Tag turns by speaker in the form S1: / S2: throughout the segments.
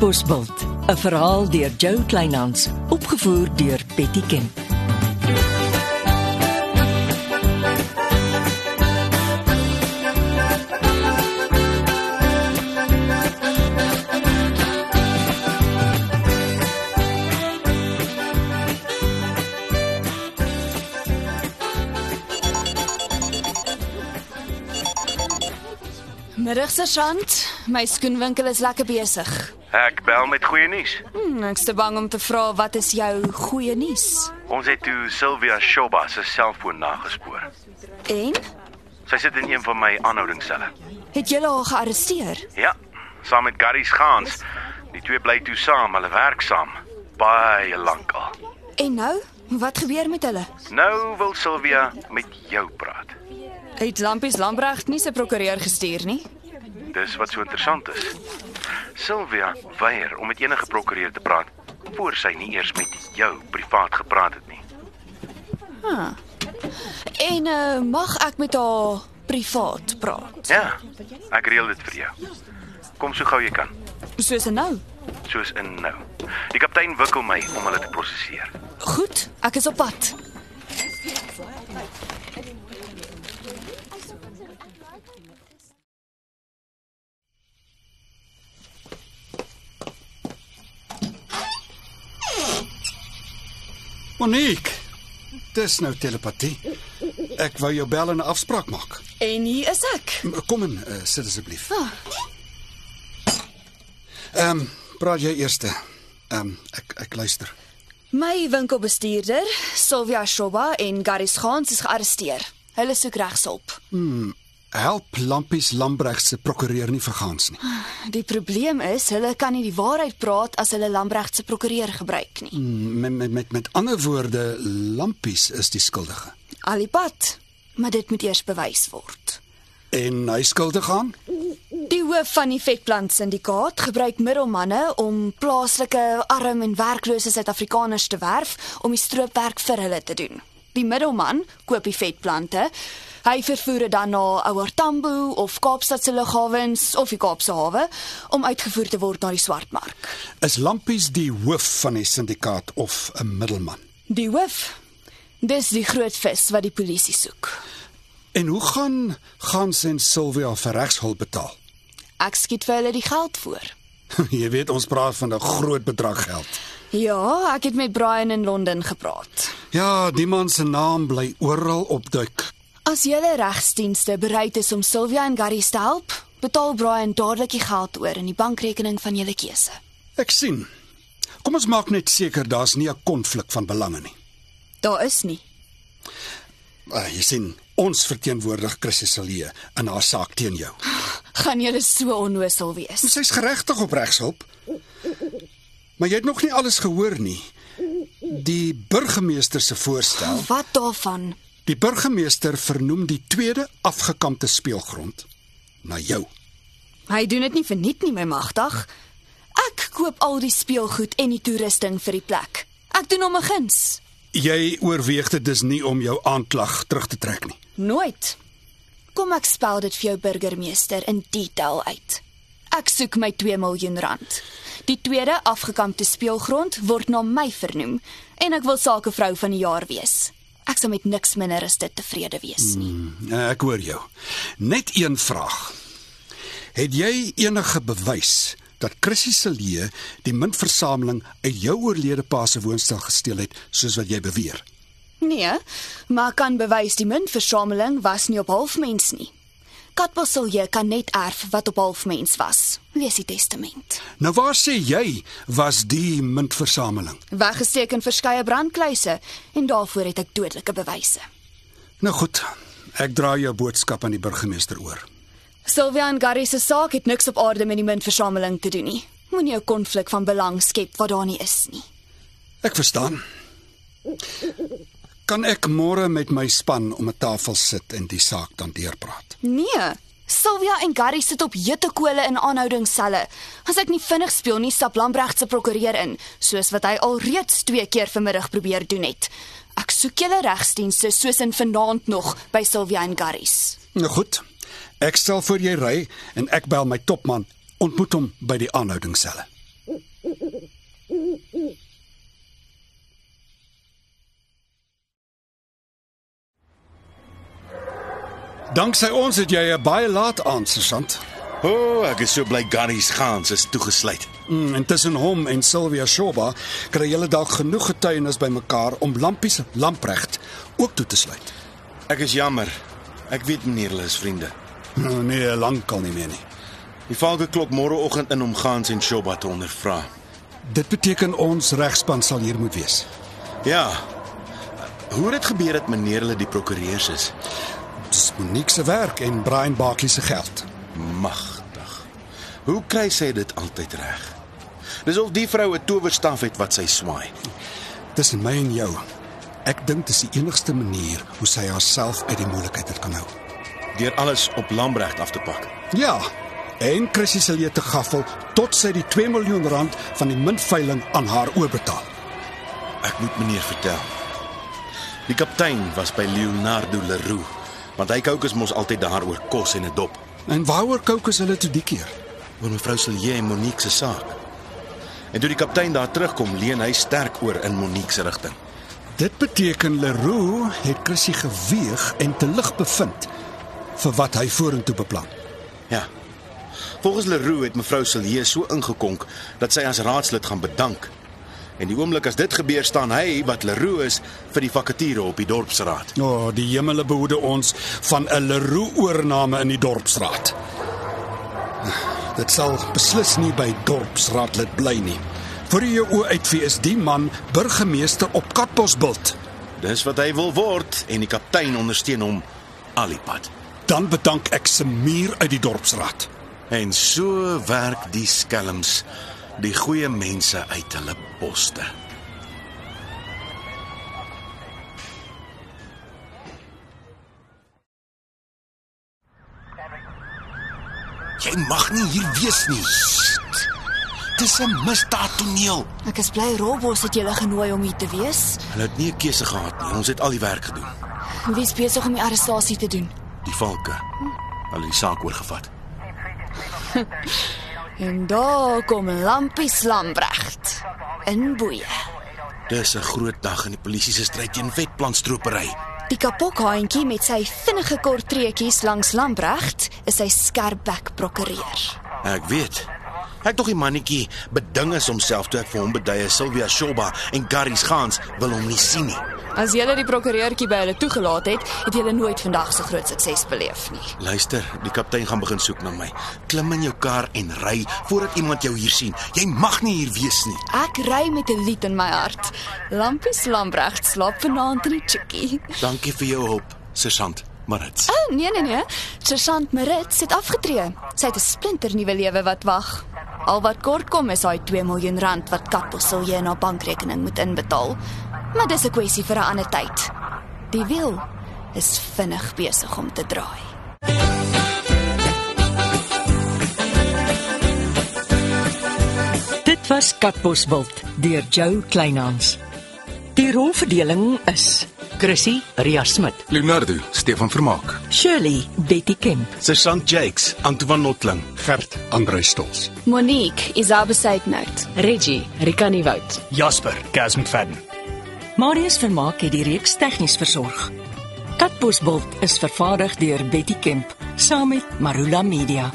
S1: Bosbult, 'n verhaal deur Jo Kleinhans, opgevoer deur Betty Ken.
S2: Middag sergeant, my skoenwinkel is lekker besig.
S3: Ek bel met goeie nuus.
S2: Hm, ek's te bang om te vra wat is jou goeie nuus?
S3: Ons het toe Sylvia Shoba se selfoon nagespoor.
S2: En
S3: Sy sit in een van my aanhoudingsselle.
S2: het julle haar gearresteer?
S3: Ja, saam met Gary Schaans. Die twee bly toe saam, hulle werk saam baie lank al.
S2: En nou, wat gebeur met hulle?
S3: Nou wil Sylvia met jou praat.
S2: Het Lampies Lambregt nie se prokureur gestuur nie?
S3: Dis wat so interessant is. Sylvia weier om met enige prokureur te praat voor sy nie eers met jou privaat gepraat het nie.
S2: En uh, mag ek met haar privaat praat?
S3: Ja, ek reël dit vir jou. Kom so gou jy kan.
S2: Soos en nou.
S3: soos in nou. Die kaptein wikkel my om hulle te prosesseer.
S2: Goed, ek is op pad.
S4: Monique, dis nou telepatie. Ek wou jou bel en 'n afspraak maak.
S2: En hier is ek.
S4: M- Kom in, eh, sit asseblief. Ehm, praat jy eers. Ehm, ek ek luister.
S2: My winkelbestuurder, Sylvia Shoba en Gary Schaans is gearresteer. Hulle soek regshulp.
S4: Help Lampies Lambreg se prokureur nie vergaans nie.
S2: Die probleem is, hulle kan nie die waarheid praat as hulle Lambregt se prokureur gebruik nie.
S4: M- Met met met, met ander woorde, Lampies is die skuldige.
S2: Alipad, maar dit moet eers bewys word.
S4: En hy skuldig aan?
S2: Die hoof van die vetplant syndikaat gebruik middelmanne om plaaslike arm en werklose Suid-Afrikaners te werf om die stroopwerk vir hulle te doen. Die middelman koop die vetplante. Hy vervoer dit dan na Ouartambo of Kaapstad se lughawens of die Kaapse hawe om uitgevoer te word na die swartmark.
S4: Is Lampies die hoof van die syndikaat of 'n middelman?
S2: Die hoof, dis die groot vis wat die polisie soek.
S4: En hoe gaan Gans en Sylvia vir regshulp betaal?
S2: Ek skiet vir hulle die geld voor.
S4: Jy weet ons praat van 'n groot bedrag geld.
S2: Ja, ek het met Brian in Londen gepraat.
S4: Ja, die man se naam bly oral opduik.
S2: As julle regsdienste bereid is om Sylvia en Gary te help, betaal Brian dadelik die geld oor in die bankrekening van julle keuse.
S4: Ek sien. Kom ons maak net seker daar's nie 'n konflik van belange nie.
S2: Daar is nie.
S4: Uh, jy sien, ons verteenwoordig Christus Celie in haar saak teen jou.
S2: Gaan julle so onnoosel wees.
S4: Sy's geregtig op regshulp. Maar jy het nog nie alles gehoor nie. Die burgemeester se voorstel,
S2: Wat daarvan?
S4: die burgemeester vernoem die tweede afgekampte speelgrond na jou.
S2: Hy doen dit nie verniet nie, my magtig. Ek koop al die speelgoed en die toerusting vir die plek. Ek doen hom 'n guns.
S4: Jy oorweeg dit dus nie om jou aanklag terug te trek nie.
S2: Nooit. Kom ek spel dit vir jou burgemeester in detail uit. Ek soek my 2 miljoen rand. Die tweede afgekampte speelgrond word na my vernoem en ek wil sakevrou van die jaar wees. Ek sal met niks minder as dit tevrede wees nie.
S4: Eh, Ek hoor jou. Net een vraag. Het jy enige bewys dat Chrissy Celie die muntversameling uit jou oorlede pa se woonstel gesteel het, soos wat jy beweer?
S2: Nee, maar ek kan bewys die muntversameling was nie op halfmens nie. Katbosselje kan net erf wat op halfmens was. Lees die testament.
S4: Nou waar sê jy was die muntversameling?
S2: Weggesteek in verskeie brandkluise en daarvoor het ek dodelike bewyse.
S4: Nou goed, ek dra jou boodskap aan die burgemeester oor.
S2: Sylvia en Gary se saak het niks op aarde met die muntversameling te doen nie. Moenie 'n konflik van belang skep wat daar nie is nie.
S4: Ek verstaan. Kan ek môre met my span om 'n tafel sit en die saak dan deurpraat?
S2: Nee, Sylvia en Gary sit op hetekole in aanhoudingsselle. As ek nie vinnig speel nie, stap Lambregt se prokureur in, soos wat hy alreeds twee keer vanmiddag probeer doen het. Ek soek julle regsdienste soos in vanaand nog by Sylvia en Gary's.
S4: Nou goed. Ek stel voor jy ry en ek bel my topman. Ontmoet hom by die aanhoudingsselle. Danksy ons het jy 'n baie laat aan, sergeant.
S5: O, oh, ek is so bly Garry's gaans is toegesluit.
S4: Mm, en tussen hom en Sylvia Shoba kry julle dalk genoeg getuienis bymekaar om lampies lampregt ook toe te sluit.
S5: Ek is jammer. Ek weet meneer hulle is vriende.
S4: Nou, Nee, lankal nie meer nie.
S5: Die valke klok môreoggend in om gaans en Shoba te ondervra.
S4: Dit beteken ons regspan sal hier moet wees.
S5: Ja. Hoe het dit gebeur dat meneer hulle die prokureurs is?
S4: Dis Monique se werk en Brian Barkley se geld.
S5: Magtig. Hoe kry sy dit altyd reg? Dis of die vrou 'n towerstaf het wat sy swaai.
S4: Tussen my en jou. Ek dink dis die enigste manier hoe sy haarself uit die moeilikheid uit kan hou.
S5: Deur alles op Lambregt af te pak.
S4: Ja. En Chrissy se leë te gaffel tot sy die 2 miljoen rand van die muntveiling aan haar oorbetaal.
S5: Ek moet meneer vertel. Die kaptein was by Leonardo Leroux, want hy kookus mos altyd daaroor kos en 'n dop.
S4: En waaroor kokos hulle toe die keer?
S5: oor mevrou Silje en Monique se saak. En toe die kaptein daar terugkom, leen hy sterk oor in Monique se rigting.
S4: Dit beteken Leroux het Chrissy geweeg en te lig bevind vir wat hy vorentoe beplan.
S5: Ja. Volgens Leroux het mevrou Silje so ingekonk dat sy as raadslid gaan bedank. En die oomblik as dit gebeur staan hy wat Leroux is vir die vakature op die dorpsraad.
S4: O, oh, die hemele behoede ons van 'n Leroux oorname in die dorpsraad. Dit sal beslis nie by dorpsraad lid bly nie. Vir jou oë uitvee is die man burgemeester op Katbosbult.
S5: Dis wat hy wil word en die kaptein ondersteun hom alipad.
S4: Dan bedank ek se muur uit die dorpsraad.
S5: En so werk die skelms die goeie mense uit hulle poste. Jy mag nie hier wees nie. Sst. Dis 'n misdaadtoneel.
S2: Ek is bly Robos het julle genooi om hier te wees.
S5: Hulle het nie 'n keuse gehad nie. Ons het al die werk gedoen.
S2: Wie is besig om die arrestasie te doen?
S5: Die valke. Hulle het die saak oorgevat.
S2: En daar kom Lampie Slambrecht in boeie.
S5: Dis 'n groot dag in die polisie se stryd teen vetplanstropery.
S2: Die kapokhaantjie met sy vinnige kort treetjies langs Lambrecht is sy skerp bek prokureur.
S5: Ek weet. Ek tog die mannetjie beding is homself toe ek vir hom beduie Sylvia Shoba en Garys Gans wil hom nie sien nie.
S2: As julle die prokureurtjie by hulle toegelaat het, het julle nooit vandag so groot sukses beleef nie.
S5: Luister, die kaptein gaan begin soek na my. Klim in jou kar en ry voordat iemand jou hier sien. Jy mag nie hier wees nie.
S2: Ek ry met 'n lied in my hart. Lampie Slambrecht slaap vanaand in die chickie.
S5: Dankie vir jou hulp, sergeant Marits.
S2: Oh, nee nee nee. Sergeant Merits het afgetree. Sy het 'n splinternuwe lewe wat wag. Al wat kort kom is daai 2 miljoen rand wat Katbosselje in haar bankrekening moet inbetaal. Maar dis 'n kwessie vir 'n ander tyd. Die wiel is vinnig besig om te draai.
S1: Dit was Katbosveld deur Jo Kleinhans. Die rolverdeling is: Chrissy Ria Smit,
S6: Leonardo, Stefan Vermaak.
S1: Shirley Betty Kemp,
S5: Sergeant Jakes, Antoine Notling.
S4: Gert Andre Stols.
S2: Monique is nou? abesaidnout.
S7: Reggie, Rikani Wout.
S8: Jasper, Gaz McFadden.
S1: Marius Vermaak het die reeks tegnies versorg. Katbosveld is vervaardig deur Betty Kemp saam met Marula Media.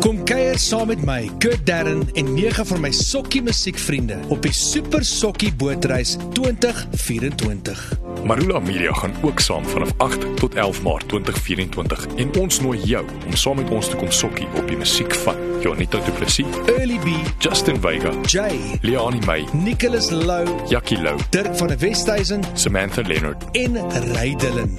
S9: Kom kuier saam met my, Kurt Darren en nege van my sokkie musiekvriende op die Super Sokkie Bootreis 2024.
S10: Marula Media gaan ook saam vanaf 8 tot 11 Maart 2024 en ons nooi jou om saam met ons te kom sokkie op die musiek van Jonita Du Plessis,
S9: Early B,
S10: Justin Vega,
S9: Jay,
S10: Leoni May,
S9: Nicholas Lou,
S10: Jackie Lou,
S9: Dirk van der Westhuizen
S10: Samantha Leonard.
S9: en Ray Dillon.